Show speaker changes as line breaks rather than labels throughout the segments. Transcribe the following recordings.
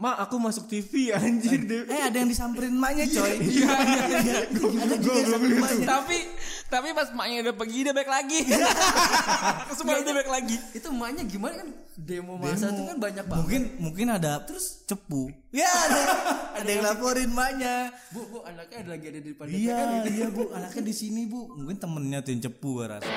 Ma, aku masuk TV anjir deh.
Eh ada yang disamperin maknya coy. Iya iya iya. Ada juga yang
gua
samperin emaknya.
tapi tapi pas maknya udah pergi dia balik lagi semua udah balik lagi
itu emaknya gimana kan demo masa itu kan banyak banget
Mungkin mungkin ada terus cepu. Ya ada, ada yang laporin maknya.
bu bu anaknya ada lagi ada di depan DPR kan
Iya iya bu anaknya di sini bu. Mungkin temennya tuh yang cepu gua rasa.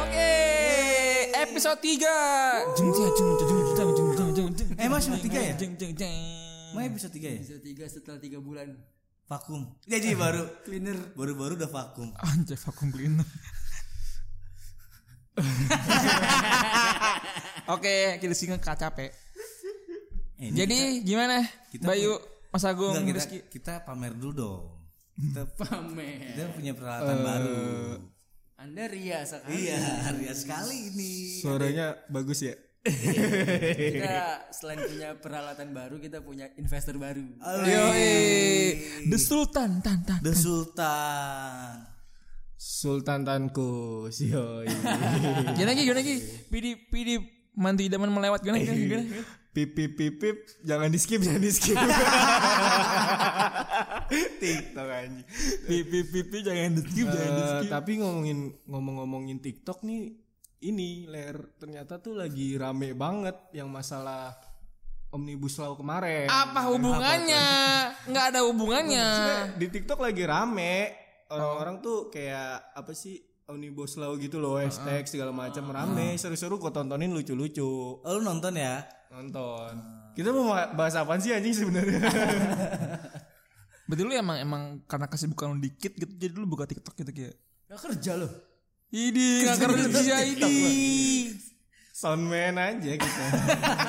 oke episode 3
Eh mas cuma tiga ya? Mas episode tiga ya?
bisa tiga setelah tiga bulan
Vakum. Jadi baru
cleaner
baru-baru udah vakum.
anjay vakum cleaner Oke, kita singkat kacape.
Eh, ini
Jadi gimana?
kita-
Bayu, Mas Agung,
Enggak,
Rizky.
kita, kita pamer dulu dong. Kita,
pamer Eh.
kita punya peralatan baru.
anda ria sekali
Iya, ria sekali ini.
Suaranya bagus ya.
kita selain punya peralatan baru kita punya investor baru
Yoi. The Sultan tan tan.
The Sultan.
Sultan Tanku, sioi.
Gimana lagi? Gimana lagi? Pidi pidi mantu idaman melewat gimana gimana? gimana?
pip pip pip pip, jangan di skip, jangan di skip. TikTok anjing.
Pip pip pip pip, jangan di skip, jangan di
Eh,
skip.
tapi ngomongin ngomong-ngomongin TikTok nih ini ler ternyata tuh lagi rame banget yang masalah omnibus law kemarin.
Apa hubungannya? Nggak ada hubungannya.
Maksudnya di TikTok lagi rame orang-orang tuh kayak apa sih omnibus law gitu loh hashtag segala macam rame seru-seru kok tontonin lucu-lucu
Oh, lu nonton ya?
nonton. Kita mau ma- bahas apaan sih anjing sebenarnya?
Berarti lu emang emang karena kesibukan lu dikit gitu jadi lu buka TikTok gitu kayak.
Nah, kerja loh
Ini nggak kerja ini.
Soundman aja gitu. kita.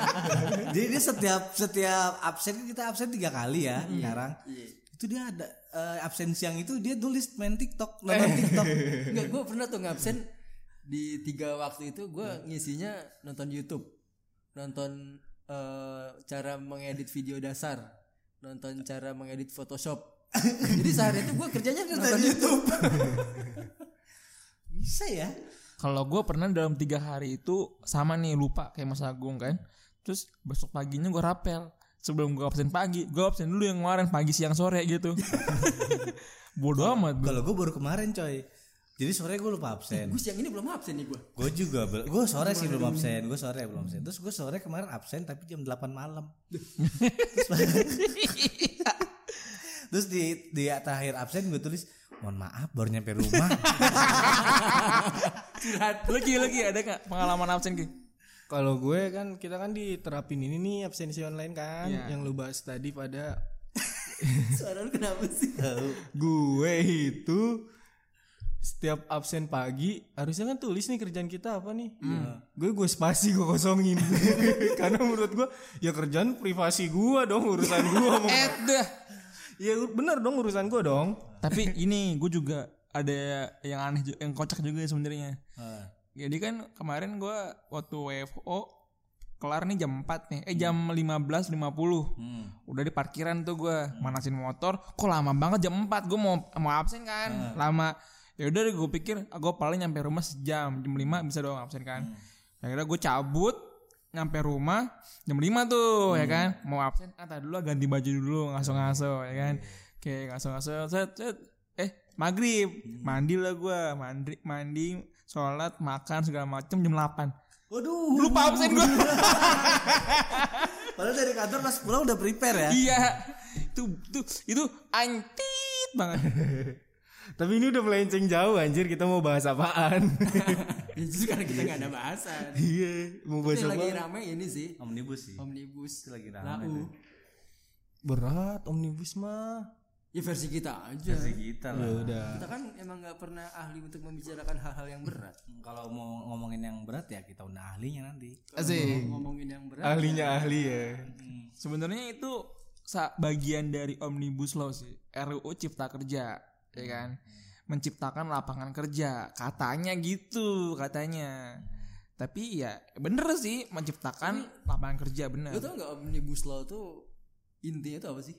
Jadi dia setiap setiap absen kita absen tiga kali ya sekarang. Itu dia ada eh, absen siang itu dia tulis main TikTok, nonton TikTok.
Enggak, gue pernah tuh ngabsen di tiga waktu itu gue
Iya.
ngisinya nonton YouTube, nonton eh, cara mengedit video dasar, nonton cara mengedit Photoshop. Jadi sehari itu gue kerjanya nonton YouTube.
Bisa ya?
Kalau gue pernah dalam tiga hari itu sama nih lupa kayak Mas Agung kan. Terus besok paginya gue rapel. Sebelum gue absen pagi, gue absen dulu yang kemarin pagi siang sore gitu. Bodoh amat gue.
Kalau gue baru kemarin coy. Jadi sore gue lupa absen.
Gue siang ini belum absen nih gue.
Gue juga gue sore sih belum absen. Gue sore belum absen. Terus gue sore kemarin absen tapi jam 8 malam. Terus di di terakhir absen gue tulis mohon maaf baru nyampe rumah.
Lu Ki, lu Ki, ada gak pengalaman absen Ki?
Kalau gue kan kita kan diterapin ini nih absensi online kan yang lu bahas tadi pada
Suara lu kenapa sih?
gue itu setiap absen pagi harusnya kan tulis nih kerjaan kita apa nih Nah, gue gue spasi gue kosongin karena menurut gue ya kerjaan privasi gue dong urusan gue mau
Eh dah.
ya bener dong urusan gue dong
Tapi ini gue juga ada yang aneh ju- yang kocak juga sebenarnya. Jadi kan kemarin gue waktu WFO kelar nih jam 4 nih. Eh jam 15.50. Hmm. Udah di parkiran tuh gue manasin motor. Kok lama banget jam 4 gue mau mau absen kan. Lama. Ya udah gue pikir gue paling nyampe rumah sejam. Jam 5 bisa doang absen kan. Akhirnya gue cabut nyampe rumah jam 5 tuh ya kan mau absen ah tadi dulu lah, ganti baju dulu ngaso-ngaso ya kan kayak ngaso-ngaso set, set. eh maghrib mandi lah gue mandi mandi sholat makan segala macem jam 8
Waduh.
lupa absen gue
Padahal dari kantor pas pulang udah prepare ya.
iya itu itu itu antit banget
tapi ini udah melenceng jauh anjir kita mau bahas apaan
Ya justru karena kita nggak ada bahasan.
iya mau bahas
Ini lagi
apa
rame ini sih Nah, uh.
Omnibus sih.
omnibus
lagi rame
lau.
berat omnibus mah
Ya versi kita aja.
Ya, kita lah.
udah
Kita kan emang nggak pernah ahli untuk membicarakan hal-hal yang berat.
Kalau mau ngomongin yang berat ya kita undang ahlinya nanti.
Asik. Ngomongin yang berat.
ahlinya ahli ya
sebenarnya itu sa- bagian dari omnibus law sih RUU Cipta Kerja ya kan menciptakan lapangan kerja katanya gitu katanya tapi ya bener sih menciptakan lapangan kerja bener
Lu tau gak omnibus law tuh intinya tuh apa sih?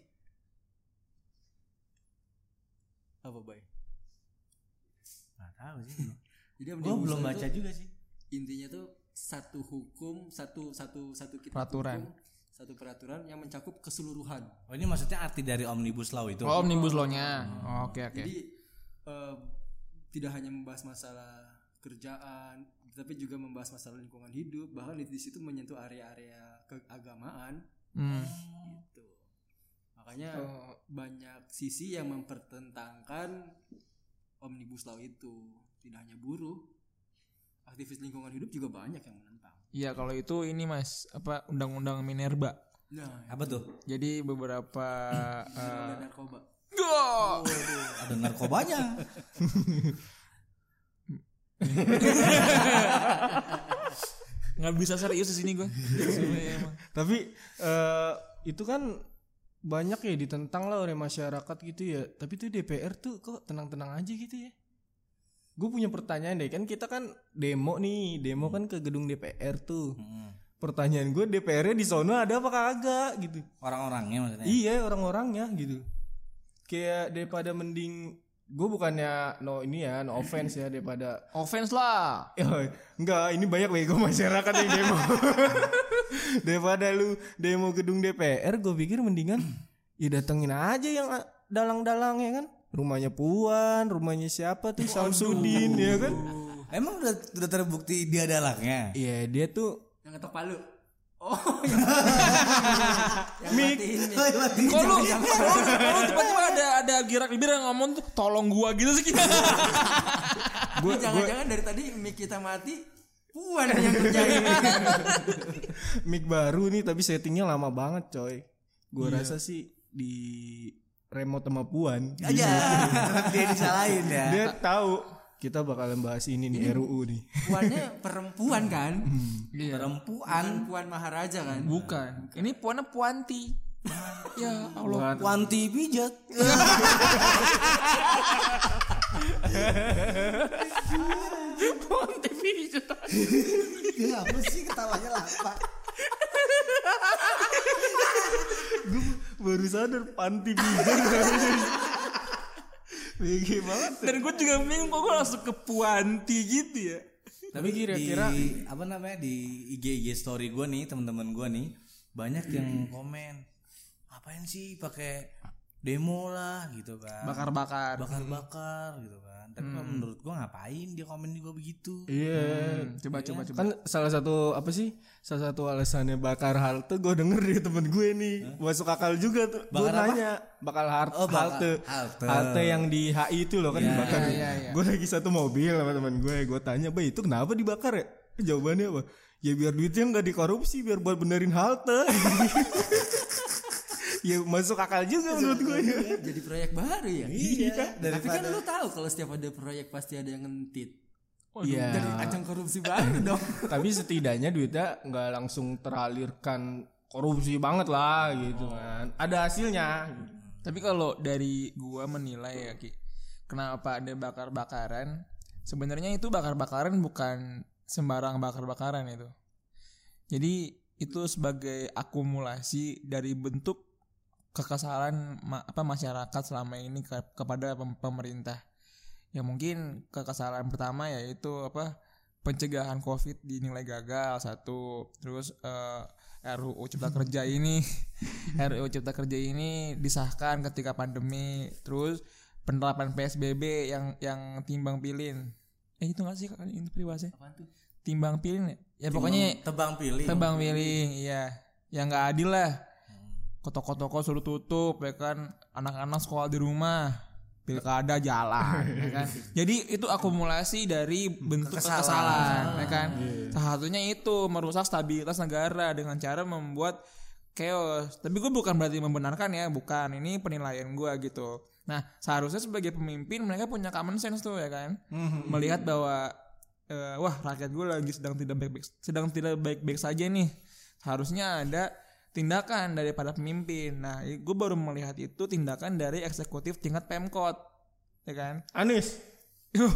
Apa bay?
Nggak tahu sih.
Jadi
Gue
omnibus
belum
law
baca
tuh
juga sih.
Intinya tuh satu hukum, satu satu satu kita
Peraturan.
hukum, satu peraturan yang mencakup keseluruhan.
Oh ini maksudnya arti dari omnibus law itu.
oh omnibus law-nya oke oke
Jadi eh, tidak hanya membahas masalah kerjaan, tapi juga membahas masalah lingkungan hidup, bahkan di di situ menyentuh area-area keagamaan
Hmm.
gitu. Makanya banyak sisi yang mempertentangkan omnibus law itu. Tidak hanya buruh, aktivis lingkungan hidup juga banyak yang menentang.
Iya kalau itu ini mas apa undang-undang Minerba.
Nah,
Apa tuh?
Jadi beberapa eh,
ada narkoba.
Go!
Ada narkobanya.
nggak bisa serius di sini gue.
Tapi eh, itu kan banyak ya ditentang lah oleh masyarakat gitu ya. Tapi tuh DPR tuh kok tenang-tenang aja gitu ya. Gue punya pertanyaan deh, kan kita kan demo nih, demo kan ke gedung DPR tuh.
Hmm.
Pertanyaan gue DPR-nya di sono ada apa kagak gitu.
Eh. Orang-orangnya maksudnya.
Iya orang-orangnya gitu. Kayak daripada mending gue bukannya no ini ya no offense ya daripada
Offense lah.
Ya, enggak, ini banyak bego masyarakat yang demo. Daripada lu demo gedung DPR, gue pikir mendingan ya datengin aja yang dalang-dalang ya kan. Rumahnya Puan, rumahnya siapa tuh Samsudin ya kan.
Emang udah, udah terbukti dia dalangnya?
Iya, dia tuh
Yang ketok palu. Oh, yang, yang mati ini.
Kok Oh, lu, kok lu- kok lu tiba-tiba ada ada girak bibir yang ngomong tuh tolong gua gitu sih.
gua
Ini jangan-jangan dari tadi mic kita mati, puan yang kerjain.
mic baru nih tapi settingnya lama banget, coy. Gue rasa sih di remote sama Puan.
Iya.
Aja. dia disalahin ya.
Dia tahu kita bakalan bahas ini nih RUU nih.
Puannya perempuan kan?
Perempuan.
Puan Puan Maharaja kan?
Bukan. Ini puannya puanti. ya Allah.
Wanti pijat.
Puanti pijat.
Ya apa sih ketawanya lapa?
baru sadar panti pijat Bege banget
Dan gue juga bingung kok gue langsung ke puanti gitu ya.
Tapi kira-kira di, apa namanya di IG IG story gue nih teman-teman gue nih banyak yang komen apain sih pakai demo lah gitu kan
Bakar-bakar. Hmm.
bakar-bakar gitu kan tapi kalau menurut gue ngapain dia komen juga begitu
iya
Coba coba coba.
kan salah satu apa sih salah satu alasannya bakar halte gue denger dari temen gue nih masuk akal juga tuh gue
Bakar apa?
nanya bakal har-
Oh, bakar-
halte.
halte.
yang di HI itu loh kan dibakar gue lagi satu mobil sama temen gue gue tanya bah itu kenapa dibakar ya jawabannya apa ya biar duitnya nggak dikorupsi biar buat benerin halte ya masuk akal juga menurut gue ya.
Jadi proyek baru ya.
Iya,
Tapi kan lu tahu kalau setiap ada proyek pasti ada yang ngentit.
Iya.
Jadi ajang korupsi baru dong.
tapi setidaknya duitnya nggak langsung teralirkan korupsi banget lah gitu kan ada hasilnya
Tapi kalau dari gua menilai ya Ki, kenapa ada bakar-bakaran? Sebenarnya itu bakar-bakaran bukan sembarang bakar-bakaran itu. Jadi itu sebagai akumulasi dari bentuk kekesalan ma- apa masyarakat selama ini ke- kepada pem- pemerintah. Ya mungkin kekesalan pertama yaitu apa pencegahan Covid dinilai gagal satu, terus eh, RUU Cipta Kerja ini RUU Cipta Kerja ini disahkan ketika pandemi, terus penerapan PSBB yang yang timbang pilin. Eh itu nggak sih Kak? ini peribahasnya? Timbang pilin ya? Ya pokoknya
tebang pilih
tebang pilih iya yang nggak adil lah toko-toko suruh tutup ya kan anak-anak sekolah di rumah pilkada jalan ya kan jadi itu akumulasi dari bentuk kesalahan, ya kan salah satunya itu merusak stabilitas negara dengan cara membuat chaos tapi gue bukan berarti membenarkan ya bukan ini penilaian gue gitu nah seharusnya sebagai pemimpin mereka punya common sense tuh ya kan melihat bahwa eh, wah rakyat gue lagi sedang tidak baik, sedang tidak baik-baik saja nih harusnya ada tindakan daripada pemimpin nah gue baru melihat itu tindakan dari eksekutif tingkat pemkot ya kan
Anis.
gue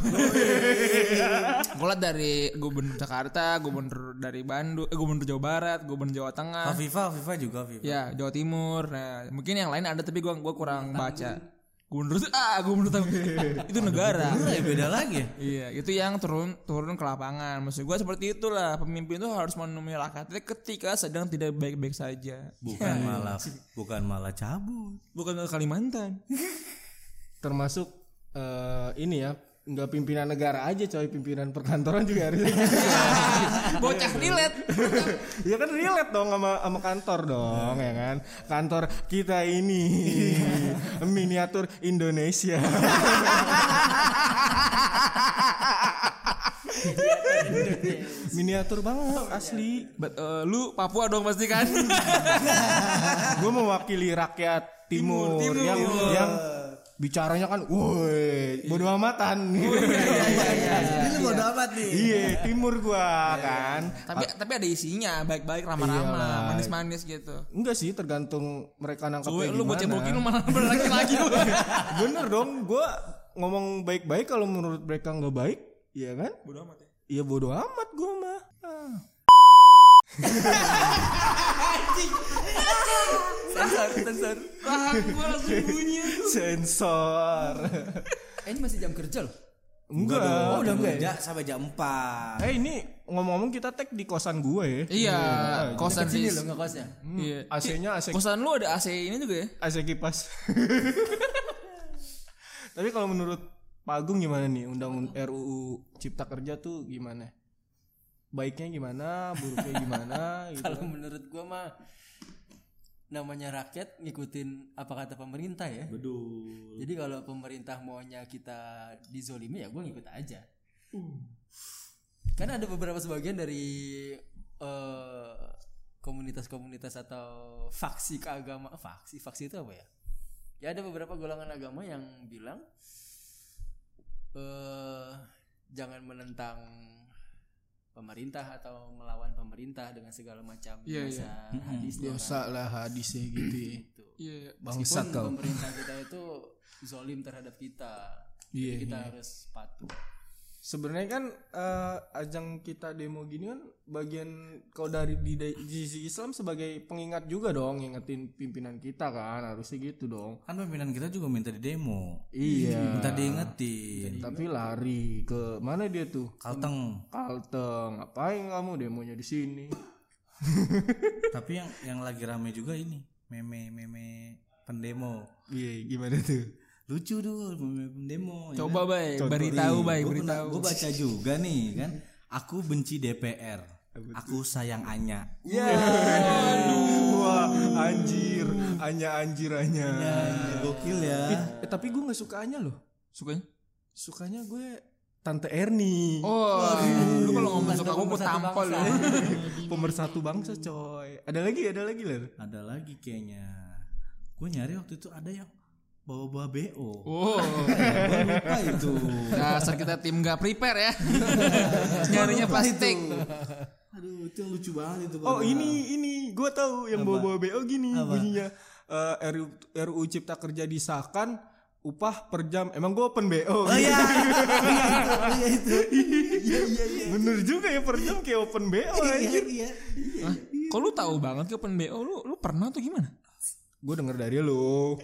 liat dari gubernur Jakarta gubernur dari Bandung eh, gubernur Jawa Barat gubernur Jawa Tengah
Afifa, Afifa Oh, juga Afifa.
ya Jawa Timur nah mungkin yang lain ada tapi gue gua kurang baca gubernur ah gubernur Tam- itu negara
Lu ya beda lagi ya?
Iya, itu yang turun turun ke lapangan. Maksud gue seperti itulah. Pemimpin itu harus menemui rakyatnya ketika sedang tidak baik-baik saja.
Bukan malah bukan malah cabut.
Bukan ke Kalimantan.
Termasuk eh, ini ya, nggak pimpinan negara aja coy, pimpinan perkantoran juga harus.
Bocah relate.
ya kan relate dong sama sama kantor dong ya kan. Kantor kita ini miniatur Indonesia. miniatur banget asli.
But, eh, lu Papua dong pasti kan?
gue mewakili rakyat timur,
Timur, timur.
yang yang bicaranya kan woi bodo amatan
Ini
iya.
lu bodo amat nih.
iya timur gua kan
tapi tapi ada isinya, baik-baik
Iyalah.
ramah-ramah, manis-manis gitu.
enggak sih tergantung mereka
Gue
nangkapnya
lu bocah bokin lu
gimana
malah berlaki-laki lu.
bener dong gua ngomong baik-baik kalau menurut mereka nggak baik iya kan
Bodoh amat ya.
iya bodo amat gua mah Ah.
Tahan Ah, gua langsung bunyi.
sensor
Eh, ini masih jam kerja loh.
enggak
Iya,
Oh, udah kerja sampai jam 4.
eh ini ngomong-ngomong kita tag di kosan gue ya
Iya, kosan
Sini
Riz.
loh ngekosnya.
Iya.
AC-nya AC
Kosan lu ada AC ini juga ya?
AC kipas. Tapi kalau menurut Pak Agung gimana nih undang RUU Cipta Kerja tuh gimana? Baiknya gimana, buruknya gimana gitu.
Kalau menurut gua mah namanya rakyat ngikutin apa kata pemerintah ya.
Aduh.
Jadi kalau pemerintah maunya kita dizolimi ya gua ngikut aja. Karena ada beberapa sebagian dari eh, komunitas-komunitas atau faksi keagama faksi faksi itu apa ya? Ya ada beberapa golongan agama yang bilang eh jangan menentang pemerintah atau melawan pemerintah dengan segala macam
Iya,
dosa
iya.
hadis dan
Dosa lah hadisnya gitu ya.
Iya.
Bangsat
Meskipun
kau.
pemerintah kita itu zolim terhadap kita
Iya,
jadi kita
iya.
harus patuh
Sebenarnya kan eh, ajang kita demo gini kan bagian kau dari di, di sisi Islam sebagai pengingat juga dong, ngingetin pimpinan kita kan, harusnya gitu dong.
Kan pimpinan kita juga minta di demo.
Iya.
Minta diingetin.
Tapi lari ke mana dia tuh?
Kalteng.
Kalteng, ngapain kamu demonya di sini?
Tapi yang yang lagi rame juga ini meme meme pendemo.
Iya, gimana tuh?
Lucu dulu meme pendemo. ya
Coba bay, beritahu
Iya,
bay, beritahu.
Gue baca juga nih kan. Aku benci DPR. Aku Iya, sayang Anya.
Ya. Wah, anjir, anya anjir anya.
Gokil ya.
Eh, tapi gue nggak suka anya loh.
Sukanya?
Sukanya gue Tante Erni.
Oh, lu kalau ngomong suka gue gue tampol lu.
Pemersatu bangsa coy. Ada lagi, ada lagi lah.
Ada lagi kayaknya. Gue nyari waktu itu ada yang bawa-bawa BO.
Oh,
Gua lupa itu.
dasar kita tim gak prepare ya. Nyarinya plastik.
Aduh, itu yang lucu banget itu.
Oh, ini ini gue tahu yang bawa-bawa BO gini bunyinya. Eh, RU, RU Cipta Kerja disahkan upah per jam. Emang gue open BO.
Oh iya. Iya itu, iya itu. Iya iya iya.
Oh, Bener juga ya per jam kayak open BO aja.
Iya iya.
Hah? Kok lu tahu banget ke open BO lu lu pernah tuh gimana?
Gue denger dari lu.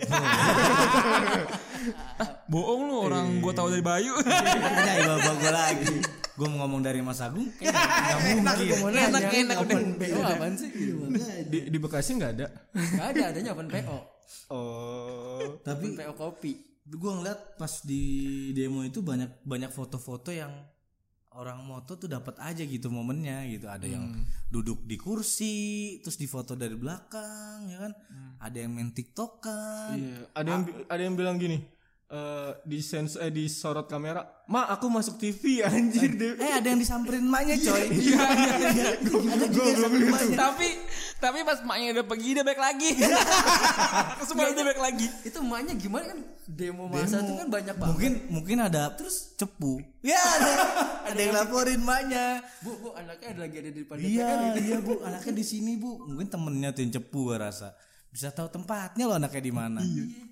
Bohong lu orang gua tahu dari Bayu.
Iya, iya, bawa gue lagi. Gue mau ngomong dari Mas Agung. Enggak mungkin.
enak
iya,
enak udah.
PO apaan sih gitu
di, di Bekasi nggak ada.
nggak ada adanya open PO
Oh.
open
Tapi
PO kopi
gue ngeliat pas di demo itu banyak banyak foto-foto yang orang moto tuh dapat aja gitu momennya gitu ada yang duduk di kursi terus difoto dari belakang ya kan ada yang main tiktokan
Iya. Ada yang bi- ada yang bilang gini. eh di sens eh disorot kamera. Ma, aku masuk TV anjir deh.
eh ada yang disamperin emaknya coy iya iya ada juga yang samperin emaknya
tapi tapi pas maknya udah pergi dia balik lagi. Semua dia balik lagi.
itu emaknya gimana kan demo masa itu kan banyak banget
mungkin mungkin ada terus cepu ya ada, ada yang laporin emaknya Gitu kan?
bu bu anaknya ada lagi ada di depan kan? DPR
Iya, iya bu, anaknya di sini bu. Mungkin temennya tuh yang cepu gue rasa. bisa tahu tempatnya loh anaknya di mana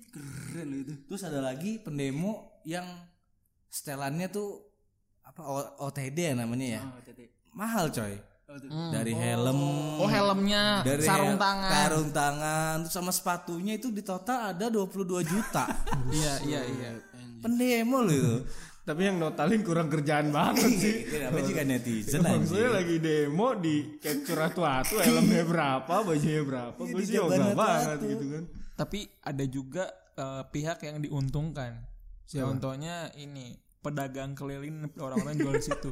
keren loh itu
terus ada lagi pendemo yang setelannya tuh apa O- OTD ya namanya ya
oh, tete.
mahal coy
Oh, tuh.
dari helm
Oh helmnya,
dari
Hmm. sarung
hel-
tangan.
sarung tangan terus sama sepatunya itu di total ada 22 juta
Iya iya iya.
pendemo loh itu
Tapi yang notalin kurang kerjaan banget sih.
kenapa juga netizen
Oh.
Maksudnya
anjir
lagi demo di capture atu-atu helmnya berapa, bajunya berapa, gue sih
dijaban
ogah banget
atu-atu.
gitu kan.
Tapi ada juga eh, pihak yang diuntungkan. Contohnya ini pedagang keliling orang-orang jual di situ.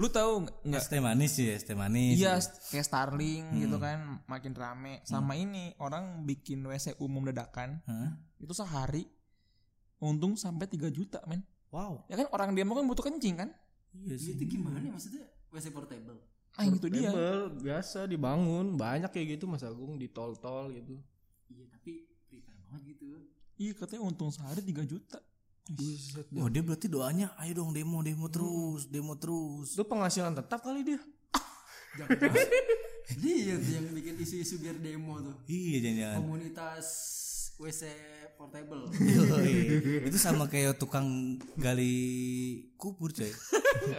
Lu tahu nggak- nggak?
es teh manis sih es teh manis
Iya, kayak Starling gitu
Hmm.
kan, makin rame. Sama ini orang bikin WC umum dadakan
Hah?
itu sehari untung sampai 3 juta men.
wow
Ya kan orang demo kan butuh kencing kan?
iya sih
itu gimana maksudnya WC portable
Ah itu dia.
Table Eh, biasa dibangun, banyak kayak gitu Mas Agung di tol-tol gitu.
iya tapi prepare banget gitu
Iya katanya untung sehari 3 juta.
Wah Oh, dia berarti doanya ayo dong demo demo terus demo terus
Itu penghasilan tetap kali dia.
jangan
Iya.
dia tuh yang bikin isu-isu biar demo tuh
iya
Oh.
jangan
komunitas WC portable
itu sama kayak tukang gali kubur coy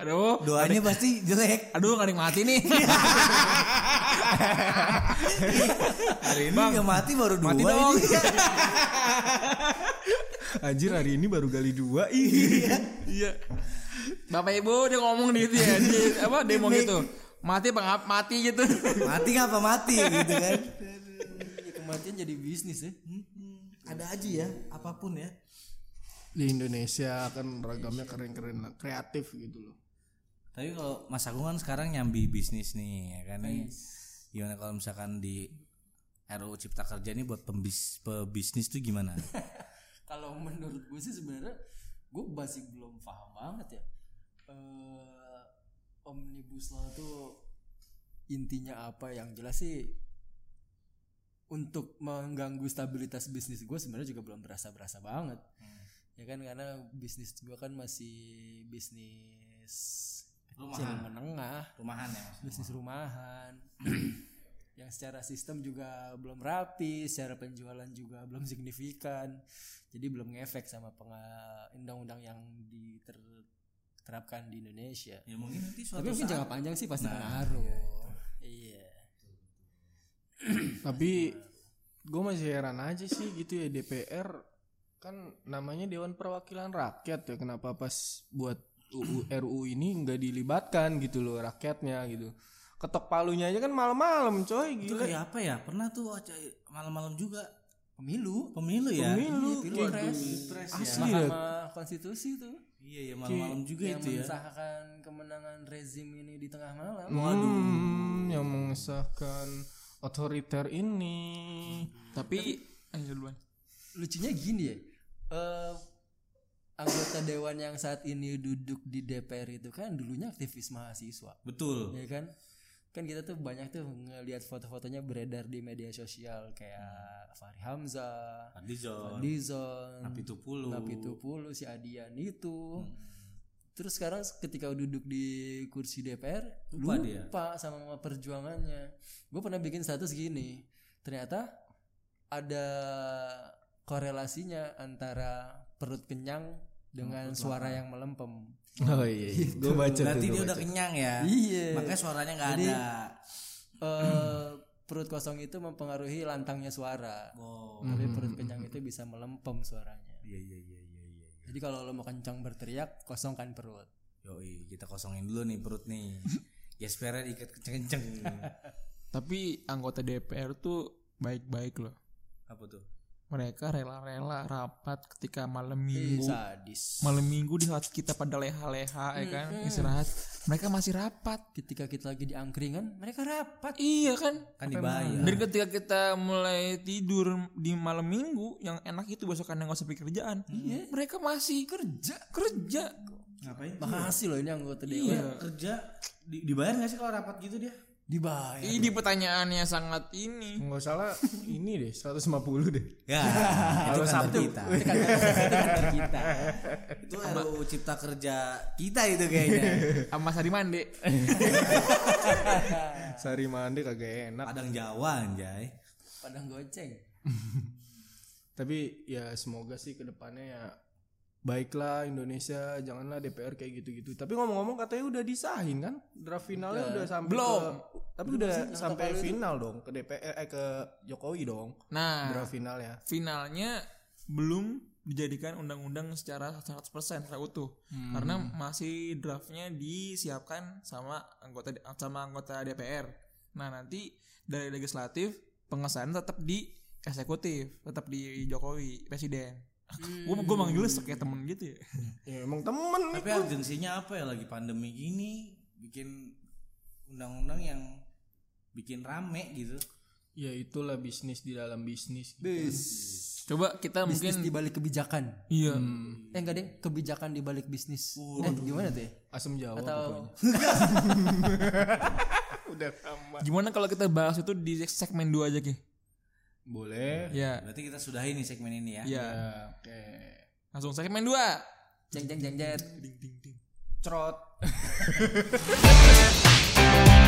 Aduh.
doanya pasti jelek
Aduh gak ada yang mati nih
hari ini yang mati baru dua
Mati dong
ini.
Anjir hari ini baru gali dua. Ih.
Iya Bapak ibu dia ngomong di itu ya di, Apa demo gitu Mati apa nggak mati gitu
mati nggak apa mati gitu kan
Iya, kematian jadi bisnis ya
ada aja ya apapun ya
Di Indonesia kan ragamnya keren-keren, kreatif gitu loh.
tapi kalau Mas Agung kan sekarang nyambi bisnis nih ya kan nih gimana kalau misalkan di RUU Cipta Kerja ini buat pembis pebisnis tuh gimana
kalau menurut gue sih sebenarnya gue masih belum paham banget ya Eh, omnibus law tuh intinya apa yang jelas sih untuk mengganggu stabilitas bisnis gue sebenarnya juga belum berasa berasa banget ya kan karena bisnis gue kan masih bisnis kecil menengah
rumahan ya Mas
bisnis rumahan yang secara sistem juga belum rapi, secara penjualan juga belum signifikan, jadi belum ngefek sama penga- undang-undang yang diterapkan di Indonesia.
ya mungkin nanti
Tapi
suatu saat
mungkin
Nah,
jangka panjang sih pasti pengaruh. Iya.
Tapi gue masih heran aja sih gitu ya DPR kan namanya Dewan Perwakilan Rakyat ya kenapa pas buat UU RUU ini nggak dilibatkan gitu loh rakyatnya gitu ketok palunya aja kan malam-malam coy
itu
gila
kayak apa ya pernah tuh aca- malam-malam juga
Pemilu,
pemilu ya
Pemilu,
Iya,
pilpres,
pilpres ya
asli ya
Mahkamah Konstitusi tuh
iya ya malam-malam juga
yang
itu ya Iya.
mensahkan kemenangan rezim ini di tengah malam.
Hmm, yang mengesahkan otoriter ini
Tapi Ayo duluan
lucunya gini ya eh, anggota dewan yang saat ini duduk di DPR itu kan dulunya aktivis mahasiswa
betul
ya kan kan kita tuh banyak tuh ngelihat foto-fotonya beredar di media sosial kayak Fahri Hamzah,
Fadlizon
Dizon,
itu puluh
Napitupulu, si Adian
Hmm.
itu. Terus sekarang ketika duduk di kursi DPR lupa,
Lupa dia.
sama perjuangannya. Gue pernah bikin status gini. Ternyata ada korelasinya antara perut kenyang dengan suara yang melempem.
oh iya gue baca
Gitu. berarti dia udah kenyang ya
Iya.
makanya suaranya nggak
Jadi-
ada
Eh, perut kosong itu mempengaruhi lantangnya suara.
oh
Tapi perut kenyang itu bisa melempem suaranya.
iya iya iya iya iya
Jadi kalau lo mau kencang berteriak, kosongkan perut.
yoi kita kosongin dulu nih perut nih Jaspernya diikat kenceng-kenceng
Tapi anggota DPR tuh Baik-baik loh
apa tuh
Mereka rela-rela rapat ketika malam
Ih,
minggu
sadis.
Malam minggu di saat kita pada leha-leha ya kan Istirahat Mereka masih rapat
ketika kita lagi di angkringan mereka rapat
Iya kan?
Kan dibayar.
Dan ketika kita mulai tidur di malam minggu, yang enak itu besokannya nggak usah pikir kerjaan. Mereka masih Iya. kerja, kerja.
ngapain
makasih loh ini anggota dewan
kerja di- dibayar nggak sih kalau rapat gitu dia
dibayar
Iya.
Ini pertanyaannya sangat ini.
nggak salah ini deh 150 deh
ya itu kantor kita
Itu kan kata kita
itu RUU Cipta Kerja kita itu kayaknya
Sama Sari Mande.
sari mandi kagak enak
Padang Jawa anjay
padang goceng
Tapi ya semoga sih kedepannya ya baiklah Indonesia janganlah DPR kayak gitu-gitu. Tapi ngomong-ngomong katanya udah disahin kan draft finalnya udah, sampai
Belum.
ke- tapi udah sampai final dong ke DPR eh ke Jokowi dong
Nah,
draft final ya.
finalnya belum dijadikan undang-undang secara 100% secara utuh karena masih draftnya disiapkan sama anggota sama anggota DPR. Nah nanti dari legislatif pengesahan tetap di eksekutif, tetap di Jokowi presiden. Gue gue manggil kayak temen gitu ya.
Ya emang temen nih.
Tapi urgensinya apa ya lagi pandemi gini bikin undang-undang yang bikin rame gitu.
Ya itulah bisnis di dalam bisnis.
Coba kita
Bisnis
mungkin
di balik kebijakan.
iya
Eh enggak deh, kebijakan di balik bisnis. eh gimana tuh ya?
Asam Jawa
Atau
gimana kalau kita bahas itu di segmen 2 aja ki?
boleh.
Ya,
Berarti kita sudahi nih segmen ini ya.
ya.
Oke.
Langsung segmen 2
jeng jeng jeng jeng.
Trot.